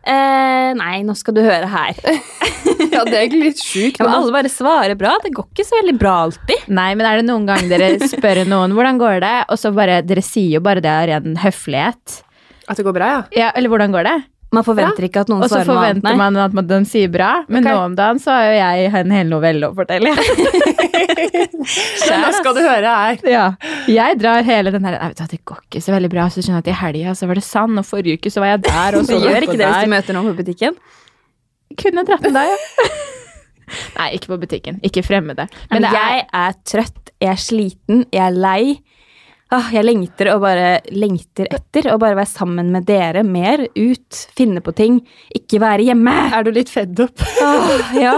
Eh, nei, nå skal du høre her. Ja, det er egentlig litt sjukt. Ja, men alle bare svarer bra. Det går ikke så veldig bra alltid. Nei, men er det noen gang dere spør noen hvordan går det, og så bare Dere sier jo bare det av ren høflighet. At det går bra, ja. Ja, eller hvordan går det? Man forventer ikke at noen Og så svarer noe annet. forventer nei. man at man- de sier bra, men Ok. nå om dagen så har jo jeg en hel novelle å fortelle. Nå skal du høre her. Ja. Jeg drar hele den her Nei, vet du hva, det går ikke så veldig bra. Så skjønner jeg at i helga så var det sand, og forrige uke så var jeg der, og så Det var gjør jeg på ikke det hvis der. du møter noen på butikken. Kunne dratt med deg, ja. Nei, ikke på butikken. Ikke fremmede. Men Men det er jeg er trøtt, jeg er sliten, jeg er lei. Åh, jeg lengter og bare lengter etter å bare være sammen med dere mer. Ut, finne på ting. Ikke være hjemme. Er du litt fedd opp? Åh, ja.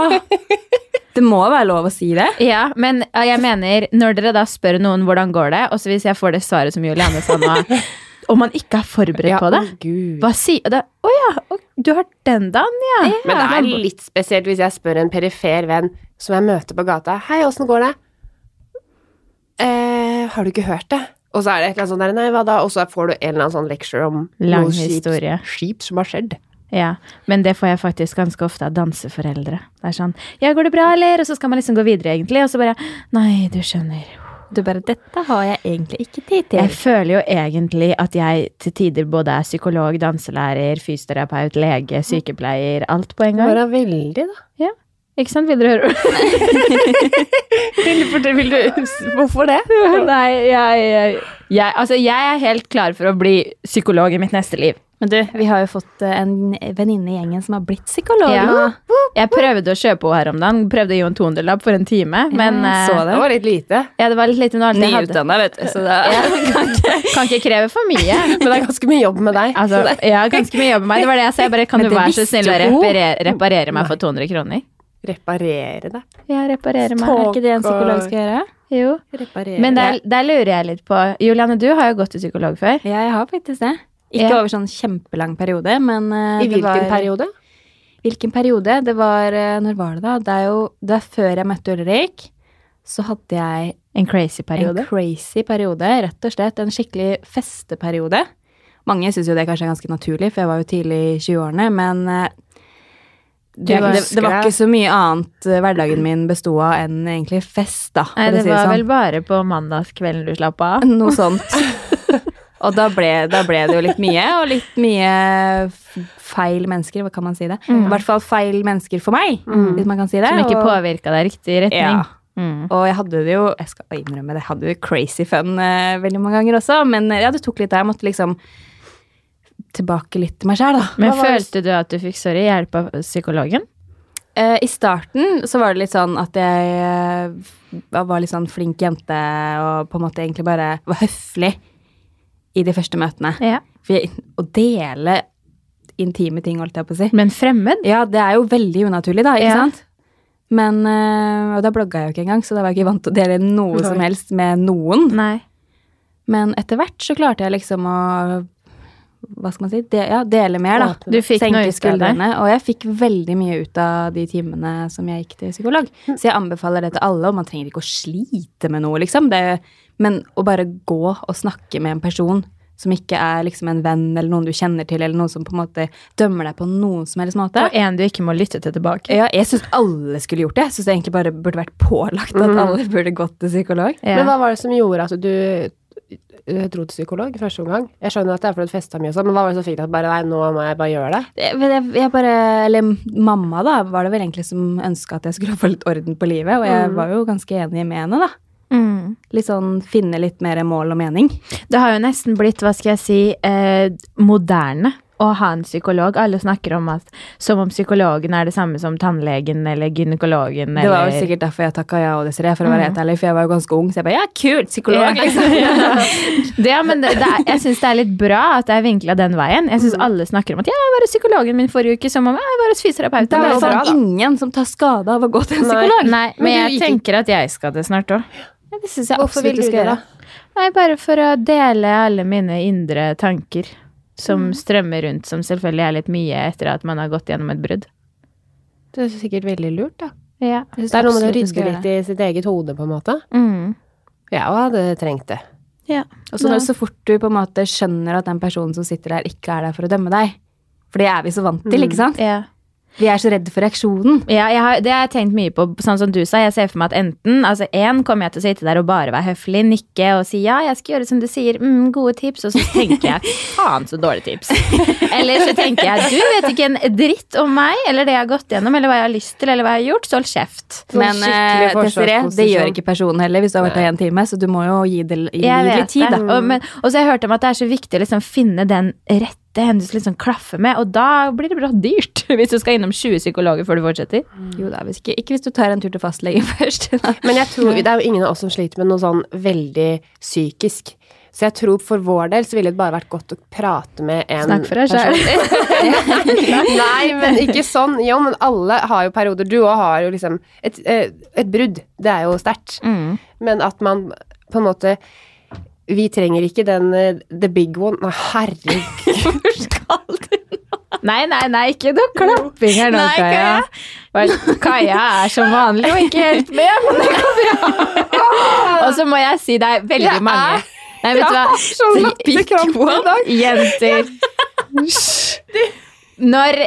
Det må være lov å si det. Ja, men ja, jeg mener, når dere da spør noen hvordan går det, og så hvis jeg får det svaret som Julianne sa nå, om man ikke er forberedt på det, å, Gud. hva sier det? Å ja, å, du har den dagen, ja. Men det er litt spesielt hvis jeg spør en perifer venn som jeg møter på gata Hei, åssen går det? Eh, har du ikke hørt det? Og så er det et eller annet sånt der, nei, hva da? Og så får du en eller annen sånn leksjer om Lang noe kjipt- historie. kjipt som har skjedd. Ja, men det får jeg faktisk ganske ofte av danseforeldre. Det er sånn, ja, går det bra, eller? Og så skal man liksom gå videre, egentlig, og så bare, nei, du skjønner. Du bare 'Dette har jeg egentlig ikke tid til'. Jeg føler jo egentlig at jeg til tider både er psykolog, danselærer, fysioterapeut, lege, sykepleier, alt på en Det gang. var veldig, da. Ikke sant, vil dere høre? Hvorfor det? Nei, jeg, jeg, altså, jeg er helt klar for å bli psykolog i mitt neste liv. Men du, vi har jo fått eh, en venninne i gjengen som har blitt psykolog. Ja. nå. Jeg prøvde å kjøpe henne her om dagen. Prøvde å gi henne 200-lapp for en time. Men eh, så Det var litt lite. ja, det var litt lite noe annet jeg hadde. Nyutdanna, vet du. Så det er Kan ikke kreve for mye. Men det er ganske mye jobb med deg. Altså, jeg har ganske mye jobb med meg. Det var det jeg sa. Jeg bare, kan Men du det være så visste snill å hun. reparere, reparere meg for 200 kroner? Reparere deg. Ja, reparere meg. Tå- Er ikke det en psykolog skal gjøre? Jo. Reparere. Men der, der lurer jeg litt på Juliane, du har jo gått til psykolog før. Ja, jeg har faktisk det. Ikke Ja. over sånn kjempelang periode, men eh, I det hvilken var, periode? Hvilken periode? Det var eh, Når var det, da? Det er jo det er før jeg møtte Ulrik. Så hadde jeg En crazy periode. en crazy periode, rett og slett. En skikkelig festeperiode. Mange syns jo det kanskje er ganske naturlig, for jeg var jo tidlig i 20-årene, men eh, det, var- det, det var ikke så mye annet eh, hverdagen min besto av enn egentlig fest, da. for Nei, å det si var sånn. vel bare på mandagskvelden du slapp av. Noe sånt. Og da ble, da ble det jo litt mye, og litt mye f- feil mennesker, hva kan man si det? I hvert fall feil mennesker for meg, hvis man kan si det. Mm. Som ikke og, påvirka deg i riktig retning. Ja. Mm. og jeg hadde det jo, jeg skal innrømme det, jeg hadde jo crazy fun eh, veldig mange ganger også, men eh, ja, det tok litt der, jeg måtte liksom tilbake litt til meg selv da. Men Hva var det- følte du at du fikk sorry, hjelp av psykologen? Eh, I starten så var det litt sånn at jeg eh, var litt sånn flink jente, og på en måte egentlig bare var høflig i de første møtene. Ja. For jeg, å dele intime ting, holdt jeg på å si. Men fremmed? Ja, det er jo veldig unaturlig, da, ikke Ja. sant? Men, eh, Og da blogga jeg jo ikke engang, så da var jeg ikke vant til å dele noe som helst med noen. Nei. Men etter hvert så klarte jeg liksom å hva skal man si? De, ja, dele mer, da. Du fikk noe ut av det. Og jeg fikk veldig mye ut av de timene som jeg gikk til psykolog. Så jeg anbefaler det til alle, og man trenger ikke å slite med noe, liksom. Det, men å bare gå og snakke med en person som ikke er liksom en venn eller noen du kjenner til, eller noen som på en måte dømmer deg på noen som helst måte. Og en du ikke må lytte til tilbake. Ja, jeg syns alle skulle gjort det. Jeg syns det egentlig bare burde vært pålagt Mm. at alle burde gått til psykolog. Men hva var det som gjorde at du eh, dro til psykolog i første omgang? Jeg skjønner at det er fordi du festa mye og sånn, men hva var det som fikk deg til bare nei, nå må jeg bare gjøre det? jeg, Eh, jeg, jeg bare, eller mamma da, var det vel egentlig som ønsket at jeg skulle få litt orden på livet, og Mm. jeg var jo ganske enig med henne da. Mm. Litt sånn finne litt mer mål og mening. Det har jo nesten blitt, hva skal jeg si, eh, moderne å å ha en psykolog. Alle snakker om at som om psykologen er det samme som tannlegen eller gynekologen Det var eller jo sikkert derfor jeg takka ja og Desiree, for å Mm. være helt ærlig, for jeg var jo ganske ung. Så jeg bare ja, kult, Ja. psykolog, liksom. det, men det, det er, jeg syns det er litt bra at det er vinkla den veien. Jeg Mm. syns alle snakker om at 'ja, jeg var hos psykologen min forrige uke', som om 'ja, jeg var hos Det fysioterapeuten'. er jo jo sånn bra, da. ingen som tar skade av å gå til en Nei. psykolog. Nei, men, Men du jeg gikk ikke. tenker at jeg skal det snart òg. Ja, Det synes jeg Hvorfor absolutt vil du du skal det, gjøre. da? Nei, bare for å dele alle mine indre tanker som Mm. strømmer rundt, som selvfølgelig er litt mye etter at man har gått gjennom et brudd. Det er sikkert veldig lurt, da. Ja. Jeg synes Det er noe med å absolutt du skal rydde gjøre litt i sitt eget hode, på en måte. Mm. Jeg òg hadde trengt det. ja. Og så, når- så fort du på en måte skjønner at den personen som sitter der, ikke er der for å dømme deg. For det er vi så vant Mm. til, ikke sant? Ja. Vi er så redde for reaksjonen. Ja, jeg har, det har jeg tenkt mye på, sånn som du sa. Jeg ser for meg at enten, altså en, kommer jeg til å sitte der og bare være høflig, nikke og si ja, jeg skal gjøre som du sier, mm, gode tips, og så tenker jeg faen så dårlige tips. Eller så tenker jeg du vet ikke en dritt om meg, eller det jeg har gått gjennom, eller hva jeg har lyst til, eller hva jeg har gjort, så hold kjeft. Sånn Men skikkelig eh, Desiree, det forsvarsposisjon. gjør ikke personen heller hvis du har vært der i en time, så du må jo gi det gi Jeg det vet litt tid, det. da. Og, men, og så har jeg hørt om at det er så viktig å liksom finne den rette henne du skal liksom klaffe med, og da blir det bra dyrt hvis du skal innom 20 psykologer før du fortsetter. Jo da, hvis ikke, ikke hvis du tar en tur til fastlegen først. da. Men jeg tror, det er jo ingen av oss som sliter med noe sånn veldig psykisk. Så jeg tror for vår del så ville det bare vært godt å prate med en Snakk for deg sjøl. Nei, men ikke sånn. Jo, men alle har jo perioder. Du òg har jo liksom et, eh, et brudd. Det er jo sterkt. Mm. Men at man på en måte Vi trenger ikke den eh, the big one. Nei, herregud. Nei, nei, nei, ikke noe klapping her nå, Nei, Kaja. Kaja. Vel, Kaja er som vanlig og ikke helt med, men det går bra. Og så må jeg si det er veldig Jeg er- mange. Nei, vet du hva? sånn latterkrampe i dag. Jenter. Når,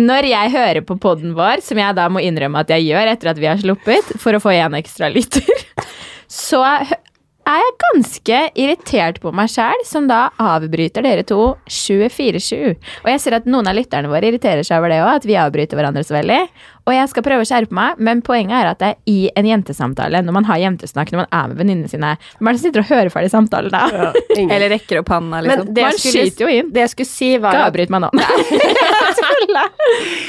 når jeg hører på podden vår, som jeg da må innrømme at jeg gjør etter at vi har sluppet, for å få én ekstra lytter, så hø- er jeg ganske irritert på meg sjæl, som da avbryter dere to 24-7. Og jeg ser at noen av lytterne våre irriterer seg over det òg, at vi avbryter hverandre så veldig. Og jeg skal prøve å skjerpe meg, men poenget er at det er i en jentesamtale, når man har jentesnakk, når man er med venninnene sine Hvem er det som sitter og hører ferdig samtalen da? Ingen. Eller rekker opp handa, liksom. Men det Man jeg skulle- skyter jo inn. Det jeg skulle si, var Ikke at avbryt meg nå.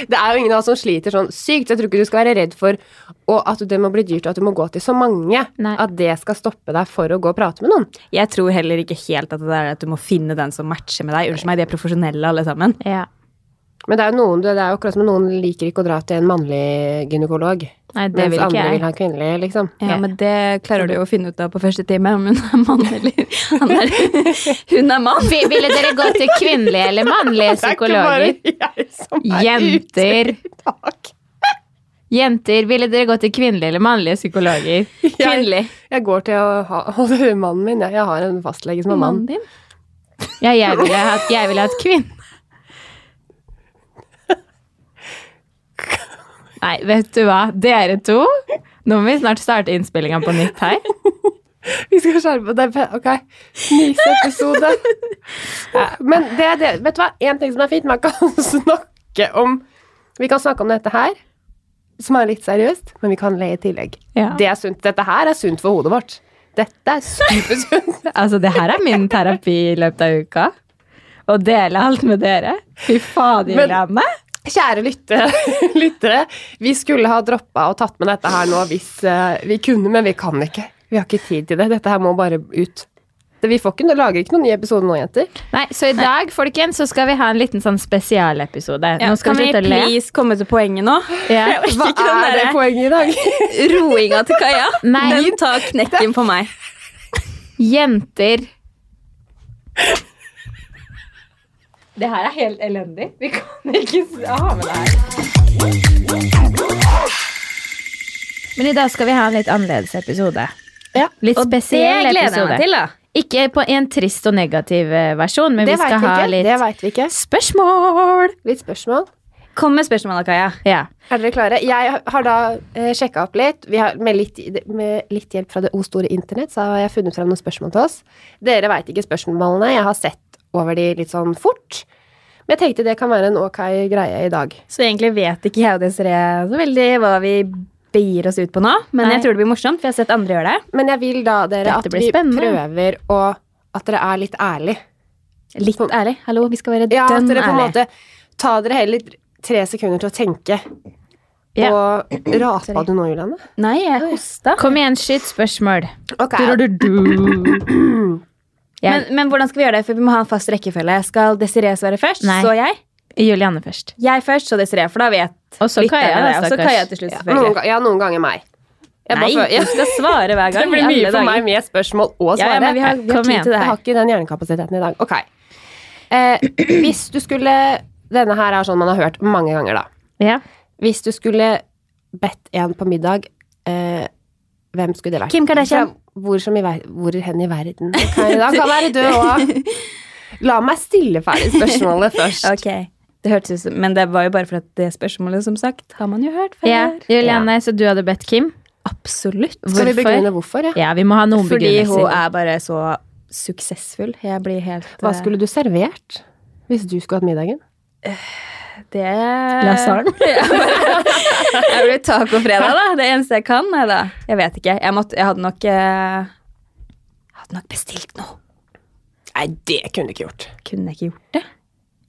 Det er jo ingen av oss som sliter sånn sykt. Jeg tror ikke du skal være redd for og at det må bli dyrt, og at du må gå til så mange. Nei. At det skal stoppe deg for å gå og prate med noen. Jeg tror heller ikke helt at det er at du må finne den som matcher med deg. Unnskyld meg, de er profesjonelle alle sammen. Ja. Men det er jo noen, det er jo akkurat som noen liker ikke å dra til en mannlig gynekolog. Nei, det mens vil ikke andre jeg. vil ha en kvinnelig, liksom. Ja, men det klarer du jo å finne ut av på første time, om hun er mann eller han er, Hun er mann! Vi- Ville dere gå til kvinnelige eller mannlige psykologer? Det er ikke bare jeg som Jenter. dag. Jenter, ville dere gå til kvinnelige eller mannlige psykologer? Kvinnelig. Jeg går til å ha, holde mannen min. Jeg, jeg har en fastlege som er mann. din? Ja, jeg ville hatt, jeg ville hatt kvinn. Nei, vet du hva? Dere to, nå må vi snart starte innspillinga på nytt her. Vi skal skjerpe deg. Ok. Myseepisode. Men det er det. Vet du hva? En ting som er fint, man kan snakke om Vi kan snakke om dette her, som er litt seriøst, men vi kan le i tillegg. Ja. Det er sunt. Dette her er sunt for hodet vårt. Dette er supersunt. Altså, det her er min terapi i løpet av uka. Å dele alt med dere. Fy fader, Men- Janne. Kjære lyttere, lyttere, vi skulle ha droppa og tatt med dette her nå hvis eh, vi kunne, men vi kan ikke. Vi har ikke tid til det. Dette her må bare ut. Det, vi får ikke, det lager ikke noen ny episode nå, jenter. Nei, så i dag, folkens, så skal vi ha en liten sånn spesialepisode. Ja, nå skal kan vi vi slutte å le. please komme til poenget nå? Ja. Hva Ikke er det den eh? derre- poenget i dag? Roinga til Kaja, Nei. den tar knekken på meg. Jenter. Det her er helt elendig. Vi kan ikke s- ha med det her. Men i dag skal vi ha en litt annerledes episode. Ja, Litt Og det spesiell gleder jeg episode. meg til, da. Ikke på en trist og negativ eh, versjon, men Det vi skal vet vi ha ikke. litt Det vet vi ikke. spørsmål. Litt spørsmål. Kom med spørsmål da, Kaja. Ja. Er dere klare? Jeg har da eh, sjekka opp litt. Vi har, med, litt. med litt hjelp fra det o store internett så har jeg funnet frem noen spørsmål til oss. Dere veit ikke spørsmålene. Jeg har sett over de litt sånn fort. Men jeg tenkte det kan være en ok greie i dag. Så egentlig vet ikke jeg og Desiree så veldig hva vi begir oss ut på nå. Men Nei. jeg tror det blir morsomt, for jeg har sett andre gjøre det. Men jeg vil da dere Dette at blir vi spennende. prøver å At dere er litt ærlig. Litt For- ærlig. Hallo, vi skal være Ja, at dønn dere på en ærlige. måte Ta dere heller tre sekunder til å tenke. Ja. Og rapa Sorry. du nå, Juliane? Nei, jeg hosta. Kom igjen, skyt spørsmål. Ok. Du-du-du. Jeg- Men, men hvordan skal vi gjøre det? For vi må ha en fast rekkefølge. Skal Desiree svare først, Nei. så jeg? Julianne først. Jeg først, så Desiree. For da vet Og så lytterne Kaja, da, det. Og så stakkars. Kaja til slutt, Ja, noen, selvfølgelig. ga- ja, noen ganger meg. Jeg bare Nei, føler- du skal svare hver Det gang. blir alle mye for dager. meg med spørsmål og Ja, svare. ja, men vi har, vi har Kom tid igjen. til det Jeg har her. ikke den hjernekapasiteten i dag. Ok. Eh, hvis du skulle Denne her er sånn man har hørt mange ganger, da. Ja. Hvis du skulle bedt en på middag, eh, hvem skulle det vært? Kim Kardashian. Fra Hvor, som i ver hvor hen i verden? Kan, da kan være død òg. La meg stille ferdig spørsmålet først. Ok, det hørtes ut som Men det var jo bare for at det spørsmålet, som sagt, har man jo hørt før. ja. Julianne, så du hadde bedt Kim? Absolutt. Skal vi Hvorfor? begrunne hvorfor? Ja? Ja, vi må ha noen Fordi hun begrunnelser. er bare så suksessfull. Jeg blir helt eh, Hva skulle du servert hvis du skulle hatt middagen? det Lasagne? Jeg blir tacofredag, da. Det eneste jeg kan. Nei da. Jeg vet ikke. Jeg, måtte, jeg hadde nok eh, Hadde nok bestilt noe. Nei, det kunne du ikke gjort. Kunne jeg ikke gjort det?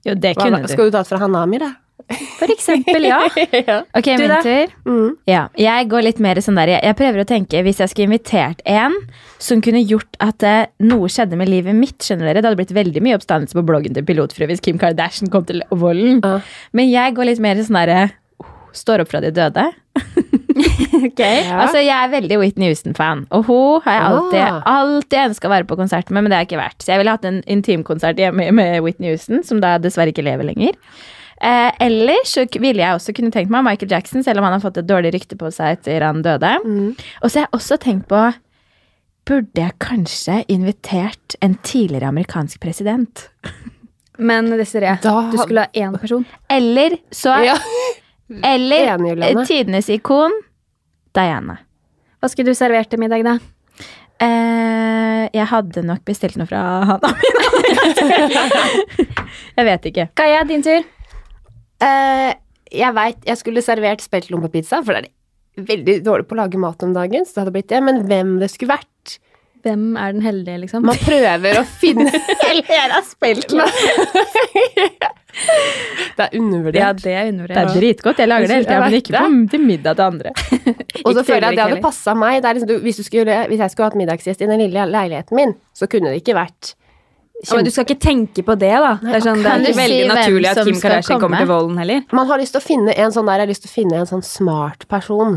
Jo, det Hva, kunne du. Skal du tatt fra Hanami, da? For eksempel, ja. Ok, Du min da? tur. Mm. Ja, jeg går litt mer sånn der Jeg, jeg prøver å tenke hvis jeg skulle invitert en Som kunne gjort at eh, noe skjedde med livet mitt skjønner dere Det hadde blitt veldig mye oppstandelse på bloggen til pilotfru Hvis Kim Kardashian kom til volden Ja. Men jeg går litt mer sånn der eh, Står opp fra de døde Ja. Altså jeg er veldig Whitney Houston-fan Og hun har jeg alltid, Ah. alltid ønsket å være på konsert med Men det har jeg ikke vært Så jeg ville hatt en intimkonsert hjemme med Whitney Houston Som da dessverre ikke lever lenger Eh, ellers så k- ville jeg også kunne tenkt meg Michael Jackson, selv om han har fått et dårlig rykte på seg etter han døde. Mm. Og så har jeg også tenkt på Burde jeg kanskje invitert en tidligere amerikansk president? Men Desiree, Da- du skulle ha én person. Eller så Ja. Eller Enig, Juliane. eh, tidenes ikon Diana. Hva skulle du servert til middag, da? Eh, jeg hadde nok bestilt noe fra handa mi. jeg vet ikke. Kaja, din tur. Eh, jeg veit jeg skulle servert speltlommepizza, for det er veldig dårlig på å lage mat om dagen, så det hadde blitt det. Men hvem det skulle vært Hvem er den heldige, liksom? Man prøver å finne Helera Det er undervurdert. Ja, det er Det er undervurdert. dritgodt. Jeg lager det hele tida, men ikke på, til middag til andre. Og så føler jeg Ikke at det heller. hadde passa meg. Det er liksom, du, hvis, du skulle, hvis jeg skulle hatt middagsgjest i den lille leiligheten min, så kunne det ikke vært Ja, men du skal ikke tenke på det, da. Det er, sånn, det kan er du ikke veldig si hvem naturlig at som Kim skal Kardashian kommer komme? til volden heller. Man har lyst til å finne en sånn der, jeg har lyst til å finne en sånn smart person.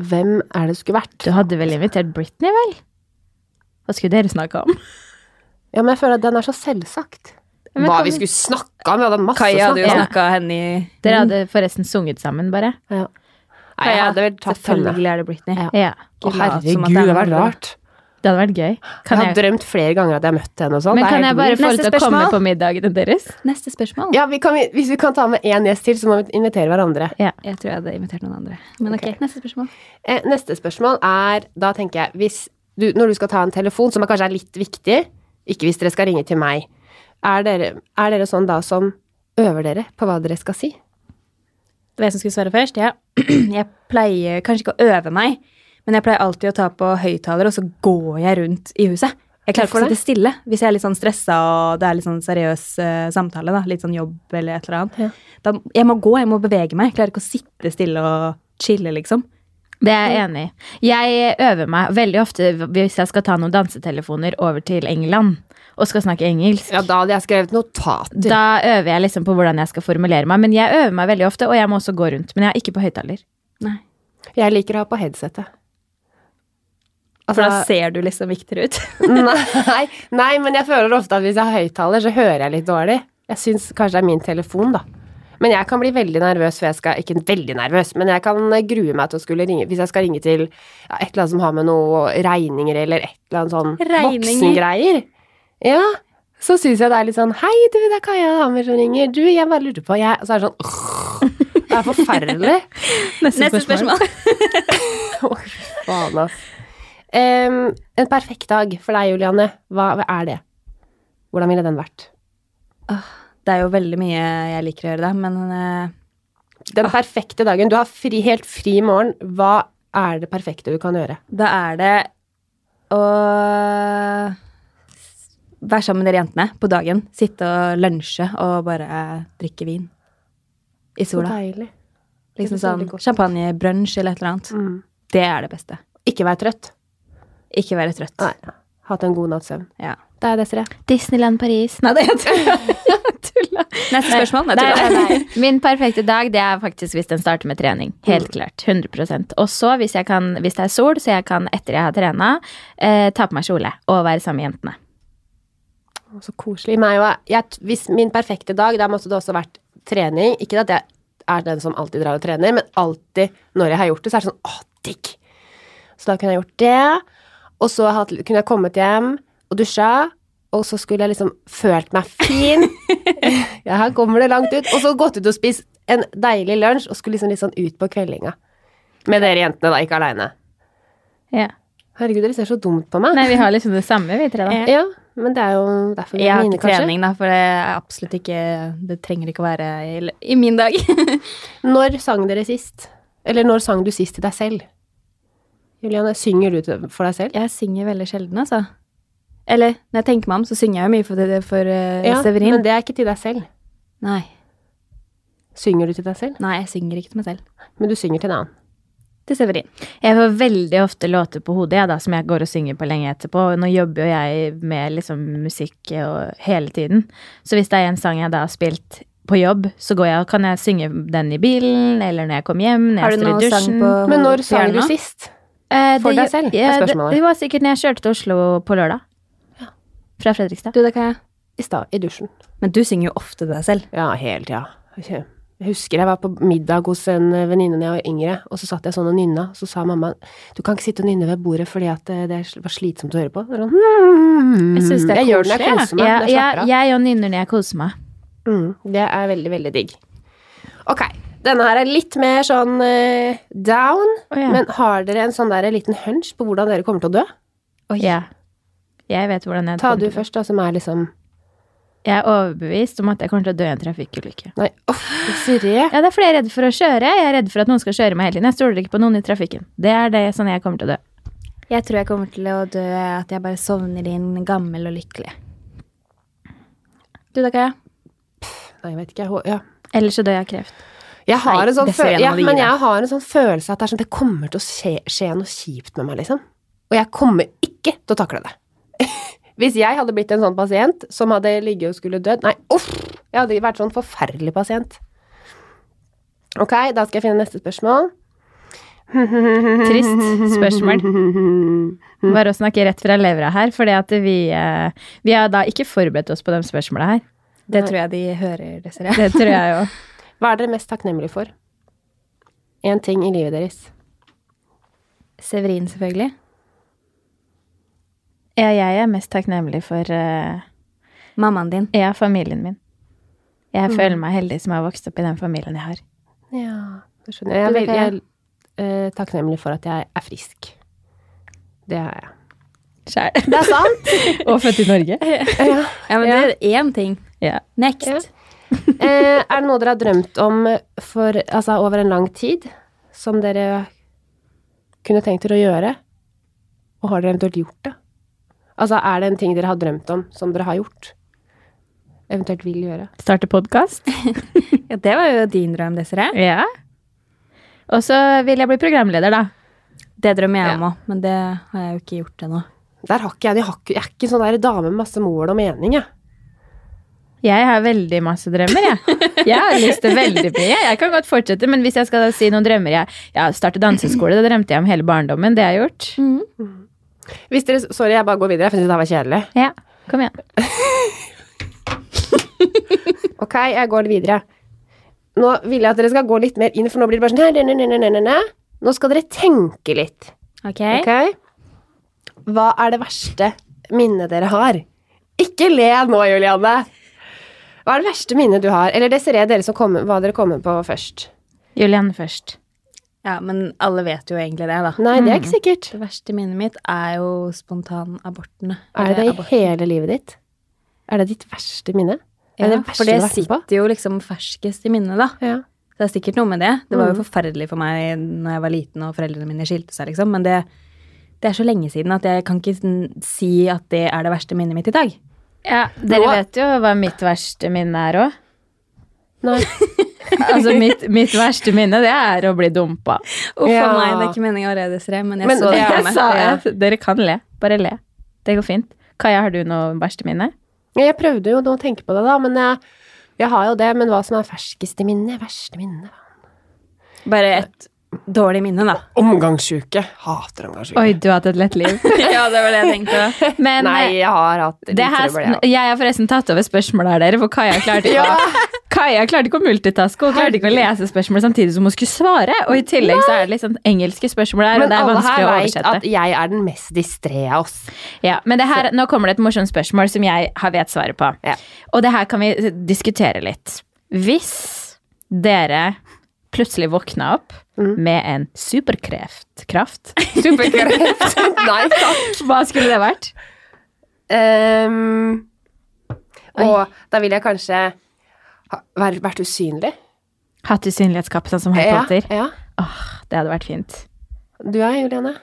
Hvem er det det skulle vært? Du hadde vel invitert Britney, vel? Hva skulle dere snakke om? Ja, men jeg føler at den er så selvsagt. men Hva kan vi vi- skulle snakka om? Vi hadde masse Kaja hadde jo Ja. snakka henne i Dere hadde forresten sunget sammen, bare. Ja. Nei, jeg hadde vel tatt henne. Mm. Selvfølgelig er det Britney. Ja. Ja, Å, Ikke lat som herregud, at det det er hadde vært noe. rart. Det hadde vært gøy. Kan jeg har jeg, drømt flere ganger at jeg har møtt henne og sånn. men Det er kan helt jeg bare vilt. få Neste henne til å komme spørsmål. på middagene deres? Neste spørsmål. ja, vi kan, Hvis vi kan ta med én gjest til, så må vi invitere hverandre. Jeg tror jeg hadde invitert noen andre. Men ok, neste spørsmål. Eh, neste spørsmål er Da tenker jeg hvis du, Når du skal ta en telefon, som er kanskje er litt viktig Ikke hvis dere skal ringe til meg. Er dere, er dere sånn da som øver dere på hva dere skal si? Det var jeg som skulle svare først. Ja. Jeg pleier kanskje ikke å øve meg, men jeg pleier alltid å ta på høyttaler, og så går jeg rundt i huset. Jeg klarer ikke Hvorfor å sitte stille hvis jeg er litt sånn stressa og det er litt sånn seriøs eh, samtale. da, Litt sånn jobb eller et eller annet. Da, jeg må gå, jeg må bevege meg. Jeg klarer ikke å sitte stille og chille, liksom. Det er jeg enig i. Jeg øver meg veldig ofte hvis jeg skal ta noen dansetelefoner over til England og skal snakke engelsk. Ja, da hadde jeg skrevet notater. Da øver jeg liksom på hvordan jeg skal formulere meg. Men jeg øver meg veldig ofte, og jeg må også gå rundt. Men jeg er ikke på høyttaler. Nei. Jeg liker å ha på headsetet. For da ser du liksom viktigere ut. nei, nei, men jeg føler ofte at hvis jeg har høyttaler, så hører jeg litt dårlig. Jeg syns kanskje det er min telefon, da. Men jeg kan bli veldig nervøs, for jeg skal Ikke veldig nervøs, men jeg kan eh, grue meg til å skulle ringe Hvis jeg skal ringe til ja, et eller annet som har med noe regninger eller et eller annet sånn Regninger? voksengreier. Ja. Så syns jeg det er litt sånn Hei, du, det er Kaja Hammer som ringer. Du, jeg bare lurte på jeg Og så er det sånn «Åh, Det er forferdelig. Neste spørsmål. Åh, fy faen, ass. Em, en perfekt dag for deg, Julianne. Hva, hva er det? Hvordan ville den vært? Det er jo veldig mye jeg liker å gjøre, da, men eh, Den perfekte dagen. Du har fri, helt fri morgen. Hva er det perfekte du kan gjøre? da er det å Vær sammen med dere jentene på dagen. Sitte og lunsje og bare drikke vin i Så sola. deilig. Liksom det er sånn veldig godt. champagnebrunsj eller et eller annet. Mm. Det er det beste. Ikke være trøtt. Ikke være trøtt. Nei. Hatt en god natts søvn. Ja. Det er Desiree. Disneyland Paris. Nei, det er tulla. Neste spørsmål. Nei, Nei, tulla. nei, nei. Min perfekte dag det er faktisk hvis den starter med trening. Helt klart. 100 Og så, hvis, jeg kan, hvis det er sol, så jeg kan etter jeg har trena, eh, ta på meg kjole og være sammen med jentene. Å, Så koselig. Meg og, jeg, hvis min perfekte dag, da måtte det også vært trening. Ikke at jeg er den som alltid drar og trener, men alltid når jeg har gjort det, så er det sånn åh, digg. Så da kunne jeg gjort det. Og så hatt- kunne jeg kommet hjem og dusja. Og så skulle jeg liksom følt meg fin. ja, her kommer det langt ut. Og så gått ut og spist en deilig lunsj, og skulle liksom litt sånn ut på kveldinga. Med dere jentene, da, ikke aleine. Ja. Herregud, dere ser så dumt på meg. Nei, vi har liksom det samme, vi tre. da. Ja, men det er jo derfor vi Jeg er har mine, ikke kanskje. trening, da, for det er absolutt ikke Det trenger ikke å være i, i min dag. Når sang dere sist? Eller når sang du sist til deg selv? Juliane, synger du til- for deg selv? jeg synger veldig sjelden, altså. Eller når jeg tenker meg om, så synger jeg jo mye for, det, for eh, Severin. men det er ikke til deg selv. Nei, Synger du til deg selv? nei, jeg synger ikke til meg selv. Men du synger til en annen. Til Severin. Jeg får veldig ofte låter på hodet jeg, da, som jeg går og synger på lenge etterpå. Og Nå jobber jo jeg med liksom, musikk og, hele tiden. Så hvis det er en sang jeg da har spilt på jobb, så går jeg, og kan jeg synge den i bilen, eller når jeg kommer hjem, når Har jeg du står i noen dusjen. sang på Men når sang du piano? sist? Eh, For det- deg selv, er ja, det, spørsmålet. det var sikkert når jeg kjørte til Oslo på lørdag. Fra Fredrikstad. Du, det kan jeg. I stad, i dusjen. Men du synger jo ofte til deg selv. Ja, hele tida. Jeg husker jeg var på middag hos en eh, venninne da jeg var yngre, og så satt jeg sånn og nynna, og så sa mamma du kan ikke sitte og nynne ved bordet fordi at eh, det er- var slitsomt å høre på. Det er sånn, hmm. Jeg synes det er jeg gjør det når jeg koselig, koser meg. Jeg, når jeg slapper jeg, av. jeg og nynner når jeg koser meg. Mm, det er veldig, veldig digg. Ok, denne her er litt mer sånn eh, down, Å, ja. men har dere en sånn der liten hunch på hvordan dere kommer til å dø? Ja. Jeg vet hvordan jeg Ta kommer du til å dø. først, da, som er liksom Jeg er overbevist om at jeg kommer til å dø i en trafikkulykke. Nei, uff, Desiree. Ja, det er fordi jeg er redd for å kjøre. Jeg er redd for at noen skal kjøre meg hele tiden. Jeg stoler ikke på noen i trafikken. Det er det sånn jeg kommer til å dø. Jeg tror jeg kommer til å dø at jeg bare sovner inn gammel og lykkelig. Du, det kan jeg. Nei, jeg vet ikke. Jeg, hå- ja. Eller så dør jeg av kreft. jeg har Nei, en sånn Desiree, følelse nå ja, må du gi Men deg. jeg har en sånn følelse at det er sånn Det kommer til å skje, skje noe kjipt med meg, liksom. Og jeg kommer ikke til å takle det. Hvis jeg hadde blitt en sånn pasient som hadde ligget og skulle dødd Nei, uff! Jeg hadde vært sånn forferdelig pasient. Ok, da skal jeg finne neste spørsmål. Trist spørsmål. Bare å snakke rett fra levra her, fordi at vi, eh, vi har da ikke forberedt oss på de spørsmåla her. Det tror jeg de hører, dessverre. Det tror jeg jo. Hva er dere mest takknemlige for? Én ting i livet deres. Severin, selvfølgelig. Ja, jeg er mest takknemlig for eh, Mammaen din. ja, familien min. Jeg føler meg heldig som har vokst opp i den familien jeg har. Ja, det skjønner jeg. Jeg er, Det veldig- jeg liker er eh, takknemlig for at jeg er frisk. Det er jeg. Sjæl. Det er sant! Og født i Norge. ja. Ja, men det er én ting. Ja. Next. Ja. Eh, er det noe dere har drømt om for, altså, over en lang tid, som dere kunne tenkt dere å gjøre? Og har dere eventuelt gjort det? Altså, er det en ting dere har drømt om, som dere har gjort? Eventuelt vil gjøre? Starte podkast. Ja, det var jo din drøm, Desiree. Ja. Og så vil jeg bli programleder, da. Det drømmer jeg om òg, men det har jeg jo ikke gjort ennå. Der har ikke jeg, de har ikke, jeg er ikke en sånn der dame med masse mål og mening, jeg. Jeg har veldig masse drømmer, jeg. Jeg har lyst til veldig mye. Jeg kan godt fortsette, men hvis jeg skal da si noen drømmer Jeg, jeg startet danseskole, det drømte jeg om hele barndommen. Det har jeg gjort. Mhm. Hvis dere, sorry, jeg bare går videre. Jeg synes det var kjedelig. Ja, kom igjen. Ok, jeg går videre. Nå vil jeg at dere skal gå litt mer inn, for nå blir det bare sånn nei, nei, nei, nei, nei, nei. Nå skal dere tenke litt. Ok? Ok? Hva er det verste minnet dere har? Ikke le nå, Julianne! Hva er det verste minnet du har? Eller Desiree, dere som kommer, hva dere kommer på først. Julianne først. Ja, men alle vet jo egentlig det, da. Nei, det er ikke sikkert. Det verste minnet mitt er jo spontanabortene. Er det Eller i hele livet ditt? Er det ditt verste minne? Er det Ja, det verste for du det har vært med på? sitter jo liksom ferskest i minnet, da. Ja. Så det er sikkert noe med det. Det var jo forferdelig for meg når jeg var liten og foreldrene mine skilte seg, liksom. Men det, det er så lenge siden at jeg kan ikke si at det er det verste minnet mitt i dag. Ja, dere Nå- vet jo hva mitt verste minne er òg. Nei. Altså, mitt, mitt verste minne, det er å bli dumpa. Uff Ja. a meg, det er ikke meningen å redestre, men jeg Men så det jeg komme. sa ja. jeg. Dere kan le. Bare le. Det går fint. Kaja, har du noe verste minne? Ja, Jeg prøvde jo nå å tenke på det, da, men jeg, jeg har jo det. Men hva som er ferskeste minne? Verste minne? Bare et dårlig minne, da. Omgangssjuke. Hater omgangssjuke. Oi, du har hatt et lett liv. ja, det var det jeg tenkte. Men eh, Nei, jeg har hatt litt det her, trøbbel, jeg. jeg har forresten tatt over spørsmålet her, dere, for Kaja klarte ikke, Kaja klarte ikke å multitaske. Hun klarte ikke å lese spørsmålet samtidig som hun skulle svare. Og i tillegg så er det litt sånn engelske spørsmål her, og Men det er alle her vanskelig å veit oversette. at jeg er den mest distré av oss. Ja, men det her, nå kommer det et morsomt spørsmål som jeg har vet svaret på. Ja. Og det her kan vi diskutere litt. Hvis dere plutselig våkna opp Mm. med en superkreft kraft, Nei takk. hva skulle det vært? Ehm, og da vil jeg kanskje ha, være, vært usynlig. Hatt usynlighetskaptein som Harry Ja, Potter. ja. Åh, det hadde vært fint. Du er Juliane.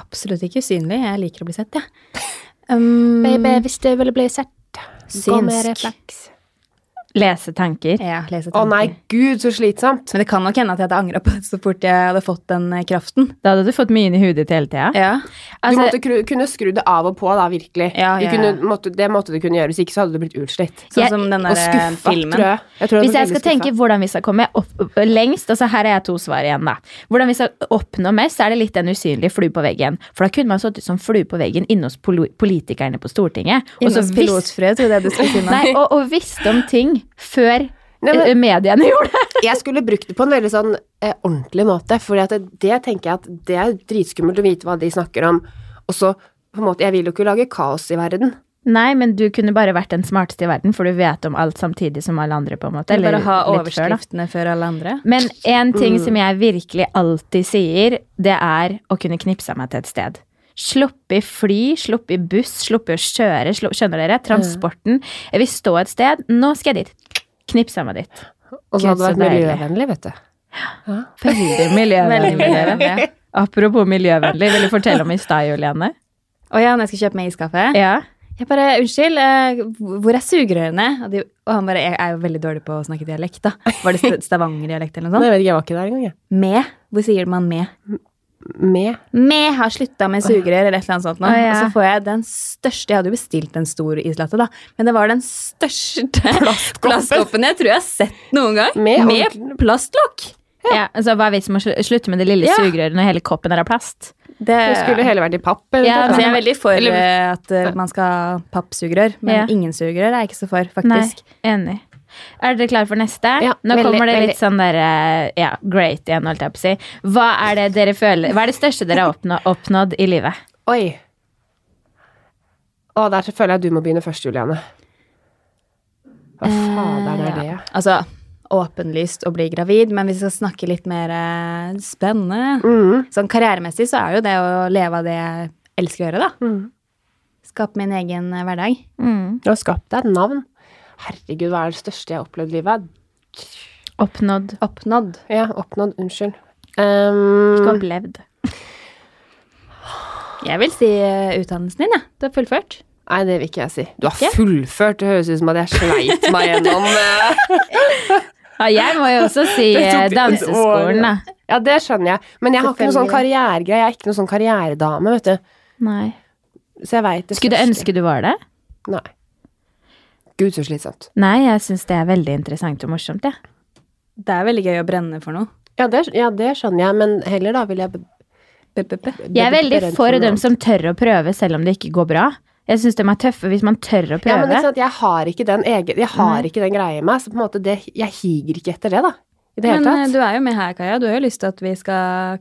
Absolutt ikke usynlig. Jeg liker å bli sett, jeg. Ja. Um, hvis du ville bli sett, gå med refleks. Lese tanker. ja, lese Å nei, tanker. gud, så slitsomt. Men det kan nok hende at jeg hadde angra på det så fort jeg hadde fått den eh, kraften. Da hadde du fått mye inn i hodet ditt hele tida. Ja. Du Altså, måtte kru, kunne skru det av og på, da, virkelig. Ja, Du ja, kunne, ja. måtte, det måtte du kunne gjøre, hvis ikke så hadde du blitt utslitt. Sånn Jeg- som den Og der eh, skuffa, filmen. tror jeg. jeg tror Hvis jeg ble skal veldig tenke skuffa. hvordan vi skal komme opp, opp- lengst, altså her er jeg to svar igjen, da. Hvordan vi skal oppnå mest, så er det litt den usynlige flue på veggen. For da kunne man sittet som flue på veggen inne hos polo- politikerne på Stortinget. Og så Innes visst, pilotfrø, trodde jeg du skulle si nå. nei, og, og visst om ting før Nei, men- eh, mediene gjorde det. Jeg skulle brukt det på en veldig sånn eh, ordentlig måte, for det, det tenker jeg at det er dritskummelt å vite hva de snakker om. Og så, på en måte, jeg vil jo ikke lage kaos i verden. Nei, men du kunne bare vært den smarteste i verden, for du vet om alt samtidig som alle andre, på en måte. Eller bare ha litt før, da. overskriftene før alle andre. Men en ting som jeg virkelig alltid sier, det er å kunne knipse meg til et sted. Sluppe i fly, sluppe i buss, sluppe å kjøre. slu- Skjønner dere? Transporten. Jeg vil stå et sted. Nå skal jeg dit. Knipse meg dit. Og Gud, så hadde det så vært deilig. miljøvennlig, vet du. Veldig Veldig miljøvennlig. miljøvennlig. Apropos miljøvennlig, vil du fortelle om i stad, Juliane? Å ja, når jeg skal kjøpe meg iskaffe. Ja. Jeg bare, unnskyld, eh, hvor er sugerørene? Og, de, og han bare, jeg er jo veldig dårlig på å snakke dialekt, da. Var det st- Stavanger-dialekt eller noe sånt? jeg vet ikke, jeg var ikke der engang, jeg. Med. Hvor sier man med? Med. Med har slutta med sugerør eller et eller annet sånt nå. Å, ja. Og så får jeg den største Jeg hadde jo bestilt en stor islatte, da, men det var den største plastkoppen jeg tror jeg har sett noen gang. Med ordentlig- med plastlokk. ja. Så hva er vitsen med å slu- slutte med det lille Ja. sugerøret når hele koppen er av plast? Det, Det skulle hele vært i papp. eller Ja, noe, altså, tror jeg er veldig for Eller- eh, at eh, man skal ha pappsugerør, men Ja. ingen sugerør er jeg ikke så for, Nei, faktisk. enig. Er dere klare for neste? Ja, Nå veldig, kommer det veldig. litt sånn der eh, Ja, great igjen, holdt jeg på å si. Hva er det dere føler Hva er det største dere har oppnå, oppnådd i livet? Oi. Å, der så føler jeg du må begynne først, Juliane. Hva fader er det? Altså, åpenlyst å bli gravid, men hvis vi skal snakke litt mer eh, spennende Mm. Sånn karrieremessig så er jo det å leve av det jeg elsker å gjøre, da. Skape min egen eh, hverdag. Du har skapt deg et navn. Herregud, hva er det største jeg har opplevd i livet? Oppnådd. Oppnådd. Ja, oppnådd. Unnskyld. Um, Ikke opplevd. Jeg vil si eh, utdannelsen din, jeg. Du har fullført. nei, det vil ikke jeg si. Du har fullført. Det høres ut som at jeg sleit meg gjennom eh, Ja, jeg må jo også si Det tok eh, et danseskolen, år. da. Ja, det skjønner jeg. Men jeg har ikke noe sånn karrieregreie. Jeg er ikke noe sånn karrieredame, vet du. Nei. Så jeg veit det Skulle du ønske du var det? Nei. Gud, så slitsomt. Nei, jeg syns det er veldig interessant og morsomt, jeg. Det er veldig gøy å brenne for noe. Ja det, ja, det skjønner jeg, men heller da vil jeg be- Jeg er veldig beredd for noe dem annet. som tør å prøve selv om det ikke går bra. Jeg syns de er tøffe hvis man tør å Ja, men prøve. ikke sant, jeg har ikke den egen Jeg har ikke den greia i meg, så på en måte det Jeg higer ikke etter det, da. I det Men hele eh, tatt. du er jo med her, Kaja. Du har jo lyst til at vi skal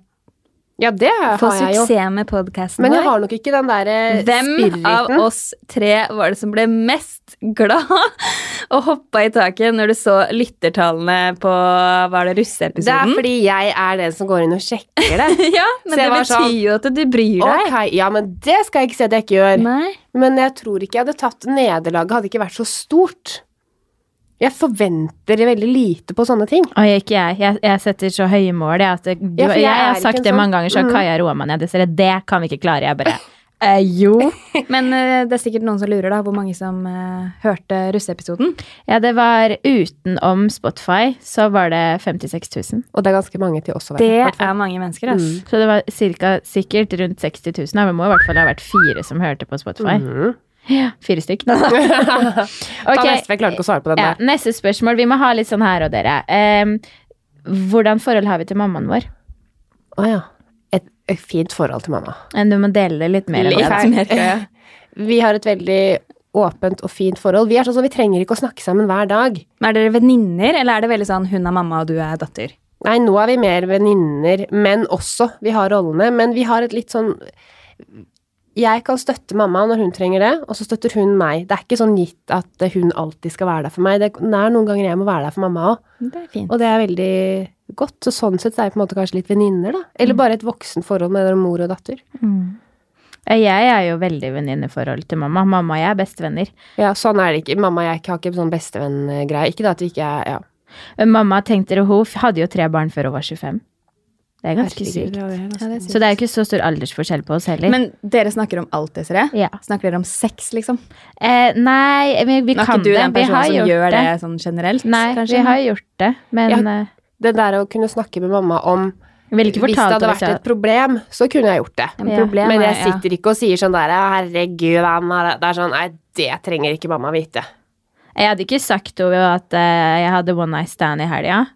ja, det har få jeg jo. suksess med podkasten Men jeg vår. har nok ikke den eh, derre Hvem spiriten. av oss tre var det som ble mest glad og hoppa i taket når du så lyttertallene på Var det Det er russeepisoden? fordi jeg er den som går inn og sjekker det. ja, Så men jeg det var betyr sånn- jo at du bryr deg. Ok, ja, men det skal jeg ikke si at jeg ikke gjør. Nei. Men jeg tror ikke jeg hadde tatt nederlaget, hadde ikke vært så stort. Jeg forventer veldig lite på sånne ting. Og ikke jeg. jeg. Jeg setter så høye mål. Jeg, at det, du, Ja, for jeg, jeg er har ikke sagt en det sånn- mange ganger, så har Mm. Kaja roa meg ned. Dessverre, det kan vi ikke klare. Jeg bare Eh, jo. Men eh, det er sikkert noen som lurer, da, hvor mange som eh, hørte russeepisoden. Ja, det var utenom Spotify, så var det 56 000. Og det er ganske mange til oss å være. Det i hvert fall. er mange mennesker, ass. Mm. Så det var cirka, sikkert rundt 60 000. Ja, Det må i hvert fall ha vært fire som hørte på Spotify. Mhm. Ja, fire stykk. Ta Ok, neste, for jeg klarer ikke å svare på den ja, der. neste spørsmål. Vi må ha litt sånn her og dere. Em, hvordan forhold har vi til mammaen vår? Å ja. Et, et fint forhold til mamma. Eh, Du må dele det litt mer. Litt Litt. mer, tror jeg. Vi har et veldig åpent og fint forhold. Vi er sånn som vi trenger ikke å snakke sammen hver dag. Men Er dere venninner, eller er det veldig sånn hun er mamma og du er datter? Nei, nå er vi mer venninner, men også vi har rollene. Men vi har et litt sånn Jeg kan støtte mamma når hun trenger det, og så støtter hun meg. Det er ikke sånn gitt at hun alltid skal være der for meg. Det det er noen ganger jeg må være der for mamma òg, Det er fint. og det er veldig godt. Så sånn sett så er vi på en måte kanskje litt venninner, da. Mm. Eller bare et voksenforhold mellom mor og datter. Jeg er jo veldig venninneforhold til mamma. Mamma og jeg er bestevenner. Ja, sånn er det ikke. Mamma og jeg har ikke sånn bestevenngreie. Ikke det at vi ikke er Ja. Men Mamma tenkte det, hun f- hadde jo tre barn før hun var 25. Det er ganske sykt. Så det er jo ikke så stor aldersforskjell på oss heller. Men dere snakker om alt, Desiree? Ja. Snakker dere om sex, liksom? eh, nei, vi, vi Nå er kan ikke du det. den Vi har personen som gjort gjør det. det. sånn generelt? Nei, kanskje? vi har gjort det. Men Ja. eh, Det der å kunne snakke med mamma om jeg ville ikke Hvis det fortalt hadde henne vært et problem, så kunne jeg gjort det. Ja, men Ja. problemet Men er- jeg sitter ikke og sier sånn der Herregud, hvem er det? Det er sånn Nei, det trenger ikke mamma vite. Jeg hadde ikke sagt henne at eh, jeg hadde one night stand i helga.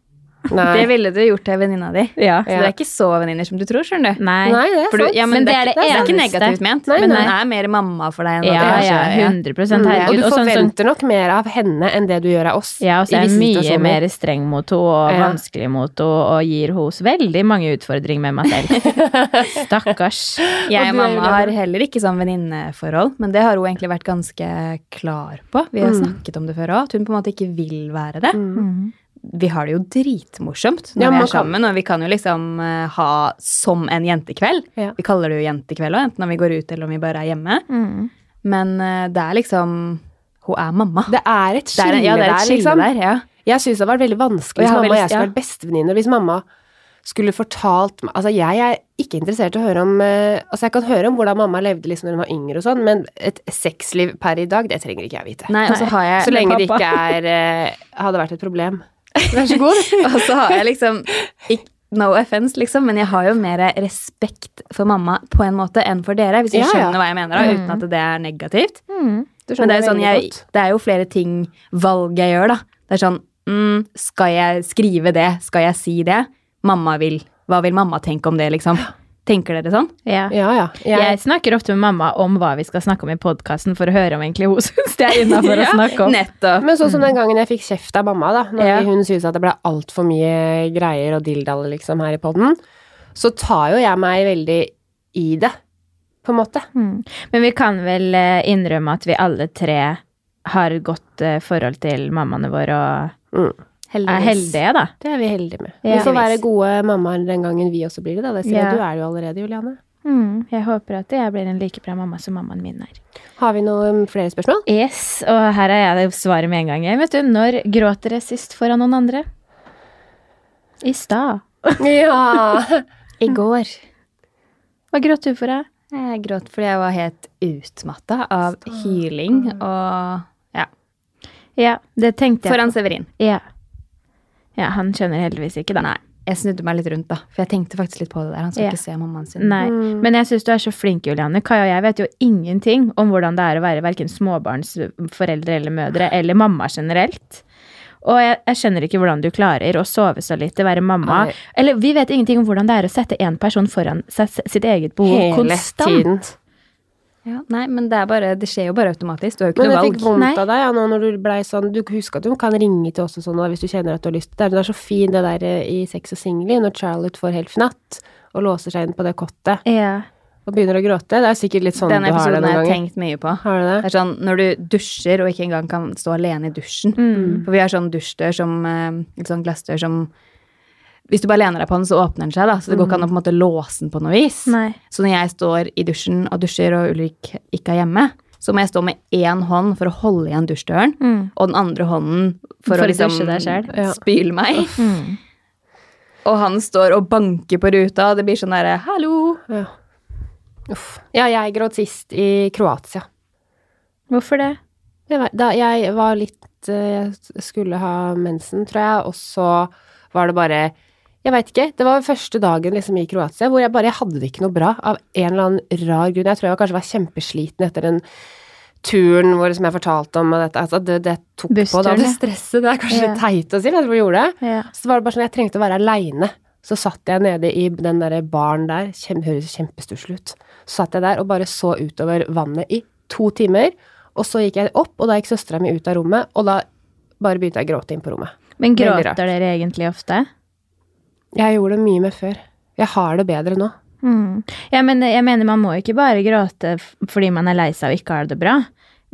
Nei. ja. Det ville du gjort til venninna di. Ja. Så dere er ikke så venninner som du tror, skjønner du. Nei. Nei, det er For du, sant. ja, men, det, er det, det er ikke eneste. negativt ment, Nei, men nei. hun er mer mamma for deg enn Ja, at du ja, kanskje- 100 Mm, herregud. Og du sånn som- forventer nok mer av henne enn det du gjør av oss. Ja, og så i er jeg visse mye situasjoner. mer streng mot henne og Ja. vanskelig mot henne og gir hos veldig mange utfordringer med meg selv. Stakkars. Jeg Og og du er jo glad mamma i har det. heller ikke sånn venninneforhold, men det har hun egentlig vært ganske klar på. Vi har snakket om det før òg, at hun på en måte ikke vil være det. Mm. Vi har det jo dritmorsomt når Ja, vi man er sammen, og vi kan jo liksom eh, ha som en jentekveld. Ja. Vi kaller det jo jentekveld òg, enten om vi går ut eller om vi bare er hjemme. Men eh, det er liksom Hun er mamma. Det er et Det er skille en- ja, det er et der, skille liksom. der, ja. Jeg syns det hadde vært veldig Og vanskelig jeg hvis har mamma og veldig- jeg skulle ja. vært bestevenninner. Hvis mamma skulle fortalt meg Altså, jeg er ikke interessert i å høre om eh, Altså, jeg kan høre om hvordan mamma levde liksom når hun var yngre og sånn, men et sexliv per i dag, det trenger ikke jeg vite. Nei, og så har jeg Så lenge det Pappa. ikke er eh, Hadde vært et problem. Vær så god. Og så har jeg liksom ikk- No offense, liksom, men jeg har jo mer respekt for mamma på en måte enn for dere, hvis du Ja, ja. skjønner hva jeg mener, da, uten at det er negativt. Du Men Mm. det er, jo sånn, veldig jeg, godt. det er jo flere ting valg jeg gjør, da. Det er sånn mm, Skal jeg skrive det? Skal jeg si det? Mamma vil. Hva vil mamma tenke om det, liksom? Tenker dere sånn? Ja. Ja, ja. Jeg snakker ofte med mamma om hva vi skal snakke om i podkasten, for å høre om egentlig hun syns det er innafor å snakke om. Nettopp. men sånn som den gangen jeg fikk kjeft av mamma, da, når Ja. hun syntes at det ble altfor mye greier og dildaller liksom her i poden, så tar jo jeg meg veldig i det, på en måte. Mm. Men vi kan vel eh, innrømme at vi alle tre har et godt eh, forhold til mammaene våre og er heldige, da. Det er vi heldige med. Ja. Vi får være gode mammaer den gangen vi også blir det, da. Det sier Ja. du er jo allerede, Juliane. Mm. Jeg håper at jeg blir en like bra mamma som mammaen min er. Har vi noen flere spørsmål? Yes, og her er jeg det svaret med en gang. Jeg. Vet du, når gråt dere sist foran noen andre? I stad. Ja! I går Hva gråt du for, da? jeg gråt fordi jeg var helt utmatta av hyling og ja. Ja, det tenkte jeg. Foran Severin. Ja. ja, han skjønner heldigvis ikke, da. Nei, jeg snudde meg litt rundt da, for jeg tenkte faktisk litt på det der. Han skal Ja. ikke se mammaen sin. Nei. Mm. Men jeg syns du er så flink, Juliane. Kai og jeg vet jo ingenting om hvordan det er å være verken småbarnsforeldre eller mødre eller mamma generelt. Og jeg, jeg skjønner ikke hvordan du klarer å sove så lite, være mamma. Nei. Eller vi vet ingenting om hvordan det er å sette én person foran seg, sitt eget behov Hele konstant. tiden. Ja, nei, men det, er bare, det skjer jo bare automatisk. Du har jo ikke Men noe jeg fikk valg. Nei. vondt av deg ja, nå når du blei sånn Du husker at du kan ringe til oss og sånn da, hvis du kjenner at du har lyst til det. Det er så fint det der eh, i Sex og single når Charlotte får helt fnatt og låser seg inn på det kottet Ja. og begynner å gråte. Det er sikkert litt sånn Den du har det episoden noen har jeg ganger. tenkt mye på. Har du Det det? er sånn, Når du dusjer og ikke engang kan stå alene i dusjen Mm. Mm. For vi har sånn dusjdør som eh, Eller sånn glassdør som Hvis du bare lener deg på den, så åpner den seg, da. Så det Mm. går ikke an å på en måte låse den på noe vis. Nei. Så når jeg står i dusjen og dusjer, og Ulrik ikke er hjemme, så må jeg stå med én hånd for å holde igjen dusjdøren, og den andre hånden Mm. for, For å å liksom dusje deg selv. Ja. spyle meg. Mm. Og han står og banker på ruta, og det blir sånn derre 'hallo'. Ja. Uff. Ja, jeg gråt sist i Kroatia. Hvorfor det? Det var, da jeg var litt eh, Jeg skulle ha mensen, tror jeg, og så var det bare Jeg veit ikke. Det var første dagen liksom, i Kroatia hvor jeg bare jeg hadde det ikke noe bra av en eller annen rar grunn. Jeg tror jeg kanskje var kjempesliten etter den turen hvor som jeg fortalte om og dette, altså, det, det tok på. Da Bussturen, det ja. stresset. Det er kanskje litt Ja. teit å si, men jeg tror jeg gjorde det. Ja. Så var det bare sånn, jeg trengte å være aleine. Så satt jeg nede i den derre baren der, kjem, høres kjempestusslig ut. Så satt jeg der og bare så utover vannet i to timer. Og så gikk jeg opp, og da gikk søstera mi ut av rommet, og da bare begynte jeg å gråte inn på rommet. Men Veldig rart. gråter dere egentlig ofte? Jeg gjorde det mye mer før. Jeg har det bedre nå. Mm. Jeg, mener, jeg mener man må ikke bare gråte f- fordi man er lei seg og ikke har det bra.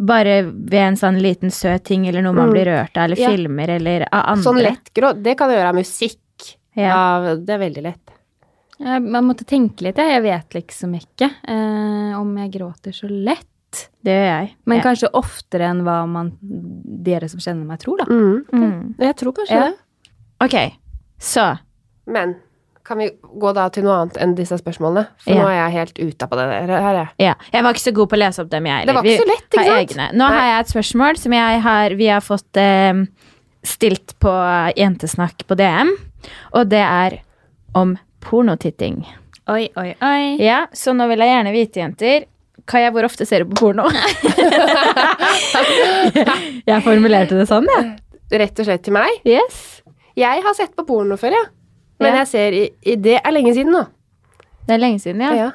Bare ved en sånn liten søt ting eller noe man Mm. blir rørt av, eller Ja. filmer eller av andre. Sånn lett gråt, det kan jeg gjøre av musikk. Ja. Av, det er veldig lett. Jeg, man måtte tenke litt. Jeg, jeg vet liksom ikke eh, om jeg gråter så lett. Det gjør jeg. Men ja. kanskje oftere enn hva man, dere som kjenner meg, tror, da. Mm. mm. Jeg tror kanskje Ja. det. Ok, så Men kan vi gå da til noe annet enn disse spørsmålene? For Ja. nå er jeg helt ute på det der. Her er jeg. ja. Jeg var ikke så god på å lese opp dem, jeg Det var ikke så lett, ikke sant? Nå Nei. har jeg et spørsmål som jeg har, vi har fått eh, stilt på Jentesnakk på DM, og det er om pornotitting. Oi, oi, oi. Ja, så nå vil jeg gjerne vite, jenter Kaja, hvor ofte ser du på porno? jeg formulerte det sånn, jeg. Rett og slett til meg. Yes. Jeg har sett på porno før, ja. Men Ja. jeg ser i, i Det er lenge siden nå. Det er lenge siden, ja. Ja.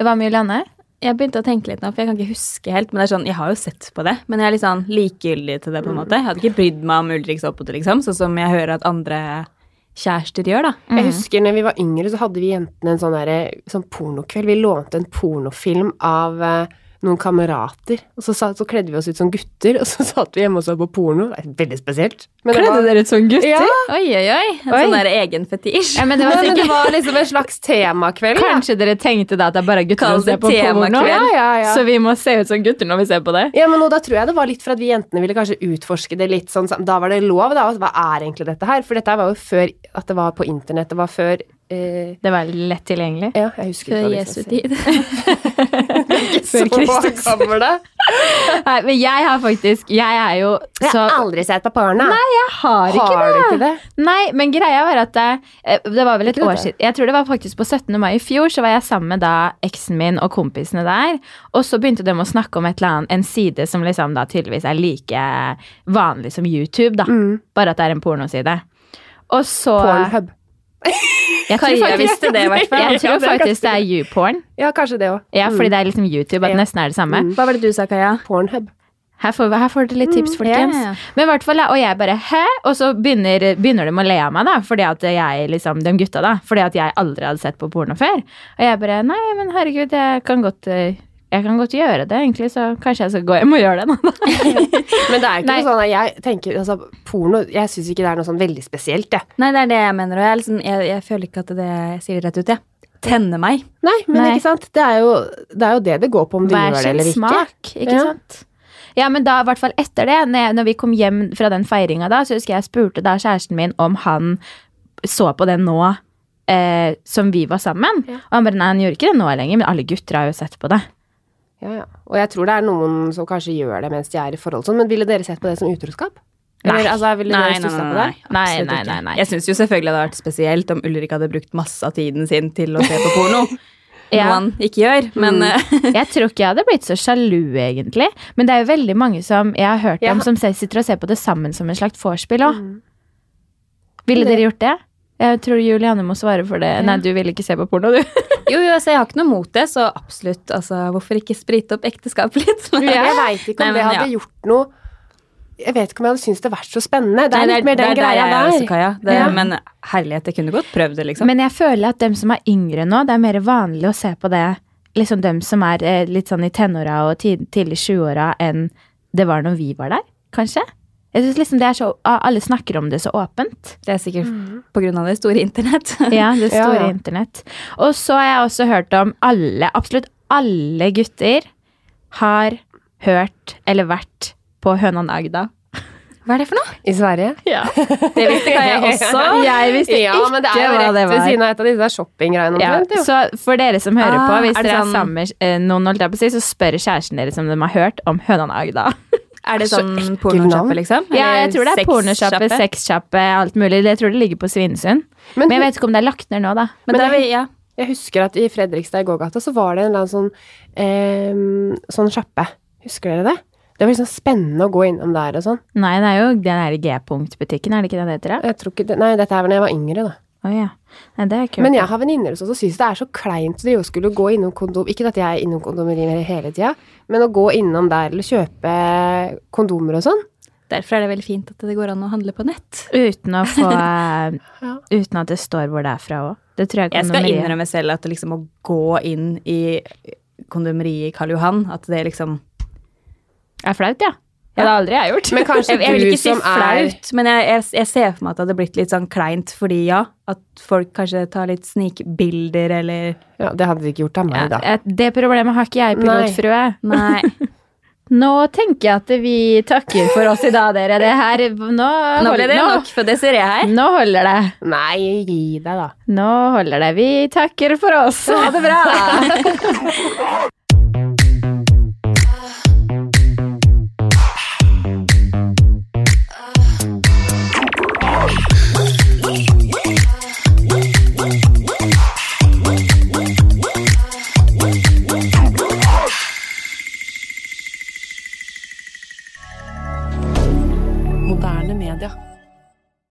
Hva med Julianne? Jeg begynte å tenke litt nå, for jeg kan ikke huske helt. Men det er sånn, jeg har jo sett på det, men jeg er litt sånn likegyldig til det, Mm. på en måte. Jeg hadde ikke brydd meg om Ulrik så på det, liksom, sånn som jeg hører at andre kjærester Mm. gjør, da. Jeg husker når vi var yngre, så hadde vi jentene en sånn, derre- sånn pornokveld. Vi lånte en pornofilm av eh, noen kamerater, og så, sa- så kledde vi oss ut som gutter, og så satt vi hjemme og så på porno. Det er veldig spesielt. Men det var, dere ut som gutter? Ja. Ja. Oi, oi, oi. sånn En Oi. sånn der egen fetisj. men det Nei, var men det sikkert var liksom en slags temakveld. Ja. Kanskje dere tenkte da at det er bare gutter Kall som ser det på porno? temakveld. Ja, ja, ja. Så vi må se ut som gutter når vi ser på det? Ja, men og da tror jeg det var litt for at vi jentene ville kanskje utforske det litt sånn sam- Da var det lov, da. Hva er egentlig dette her? For dette her var jo før at det var på internett. Det var før eh, Det var lett tilgjengelig. Ja, jeg altså. husker Før ikke hva Jesu det tid. Før Kristus. Så gamle. Nei, men jeg har faktisk Jeg er jo Jeg så har aldri sett på porno. Jeg har ikke Har du ikke det? Nei, men greia var at det, eh, det var vel et Ikke år dette? siden. Jeg tror det var faktisk på 17. mai i fjor, så var jeg sammen med da eksen min og kompisene der. Og så begynte de å snakke om et eller annet, en side som liksom da tydeligvis er like vanlig som YouTube, da. Bare at det er en pornoside. Og så Mm, Pornhub. Jeg tror Kaja faktisk, visste det, i hvert fall. jeg tror Ja, det er faktisk det er YouPorn. Ja, kanskje det òg. Ja, fordi det er liksom YouTube, at Ja. nesten er det samme. Hva var det du sa, Kaja? Pornhub. Her får, her får dere litt tips, folkens. ja, ja. Men i hvert fall, Og jeg bare hæ? Og så begynner, begynner de å le av meg, da, fordi at jeg, liksom, de gutta, da, fordi at jeg aldri hadde sett på porno før. Og jeg bare nei, men herregud, jeg kan godt, eh, jeg kan godt gjøre det, egentlig, så kanskje jeg skal gå hjem og gjøre det nå. Men det er jo ikke Nei. noe sånn at jeg tenker altså, Porno Jeg syns ikke det er noe sånn veldig spesielt, jeg. Nei, det er det jeg mener, og jeg, er liksom, jeg, jeg føler ikke at det jeg sier det rett ut, jeg. Tenner meg. Nei, men Nei. ikke sant? Det er, jo, det er jo det det går på om du Hver gjør det sin eller ikke. smak, ikke Ja. sant? Ja, men da, i hvert fall etter det, når, jeg, når vi kom hjem fra den feiringa da, så husker jeg jeg spurte da kjæresten min om han så på det nå eh, som vi var sammen. Og han bare nei, han gjorde ikke det nå lenger, men alle gutter har jo sett på det. Ja, ja. Og jeg tror det er noen som kanskje gjør det mens de er i forhold sånn, men ville dere sett på det som utroskap? Eller, Nei. Altså, ville dere stussa på det? Nei, Absolutt nei, ikke. nei, nei. Jeg syns jo selvfølgelig det hadde vært spesielt om Ulrik hadde brukt masse av tiden sin til å se på porno. Noe Ja. Mm. han ikke gjør, men eh, Jeg tror ikke jeg hadde blitt så sjalu, egentlig. Men det er jo veldig mange som jeg har hørt Ja. Mm. om, som se- sitter og ser på det sammen som en slags vorspiel òg. Ville dere gjort det? Jeg tror Julianne må svare for det. Nei, du ville ikke se på porno, du. Jo, jo, så jeg har ikke noe mot det, så absolutt. Altså, hvorfor ikke sprite opp ekteskapet litt? Jeg veit ikke om Nei, men det hadde ja. gjort noe Jeg vet ikke om jeg hadde syntes det vært så spennende. Det er Nei, litt mer den det er der greia jeg er der. også, Kaja. Det, Ja. Men herlighet, jeg kunne godt prøvd det, liksom. Men jeg føler at dem som er yngre nå, det er mer vanlig å se på det liksom dem som er eh, litt sånn i tenåra og tid, tidlig 20-åra, enn det var når vi var der, kanskje? Jeg synes liksom det er så, Alle snakker om det så åpent. det er sikkert på grunn av det store internett. Ja, det store Ja, ja. internett. Og så har jeg også hørt om alle, absolutt alle gutter har hørt eller vært på Hønan Agda. Hva er det for noe? I Sverige? Ja. Det visste ikke jeg også. Jeg visste Ja, men det er ikke jo hva rett det ved var. siden av et av disse shoppinggreiene. Ja, omtrent, jo. så for dere som hører på, Ah, hvis er det dere er sånn- sammen med eh, noen, holdt jeg på å si, så spør kjæresten deres om de har hørt om hønan Agda. Er det Så sånn ekkel navn. pornosjappe, liksom? Ja, jeg Eller tror det er pornosjappe, sexsjappe? sexsjappe, alt mulig. Jeg tror det ligger på Svinesund. Mhm. Men- Men jeg vet ikke om det er lagt ned nå, da. Men, Men da, det er- ja. Jeg husker at i Fredrikstad i gågata så var det en eller annen sånn, eh, sånn sjappe. Husker dere det? Det var liksom spennende å gå innom der og sånn. Nei, det er jo den der G-punktbutikken, er det ikke det det heter? da? Jeg tror ikke det, nei, dette er vel da jeg var yngre, da. Å ja. Nei, det er kult. Men jeg har venninner som syns det er så kleint å skulle gå innom kondom. Ikke at jeg er innom kondomerier hele tida, men å gå innom der eller kjøpe kondomer og sånn. Derfor er det veldig fint at det går an å handle på nett. Uten å få eh, Ja. Uten at det står hvor det er fra òg. Det tror jeg Jeg skal kondomeriet- innrømme selv at det liksom å gå inn i kondomeriet i Karl Johan, at det liksom er flaut, ja. Ja, det har aldri jeg gjort. Men kanskje Jeg, jeg vil du ikke si som er flaut, men jeg, jeg, jeg ser for meg at det hadde blitt litt sånn kleint fordi, ja, at folk kanskje tar litt snikbilder eller Ja, det hadde de ikke gjort av meg, da. Eh, Det problemet har ikke jeg, pilotfrue. Nei. Nå tenker jeg at vi takker for oss i dag, dere. Det her, nå, Nå holder ble det nok for Desiree her. Nå holder det. Nei, gi deg, da. Nå holder det. Vi takker for oss. Ha det bra. Moderne media.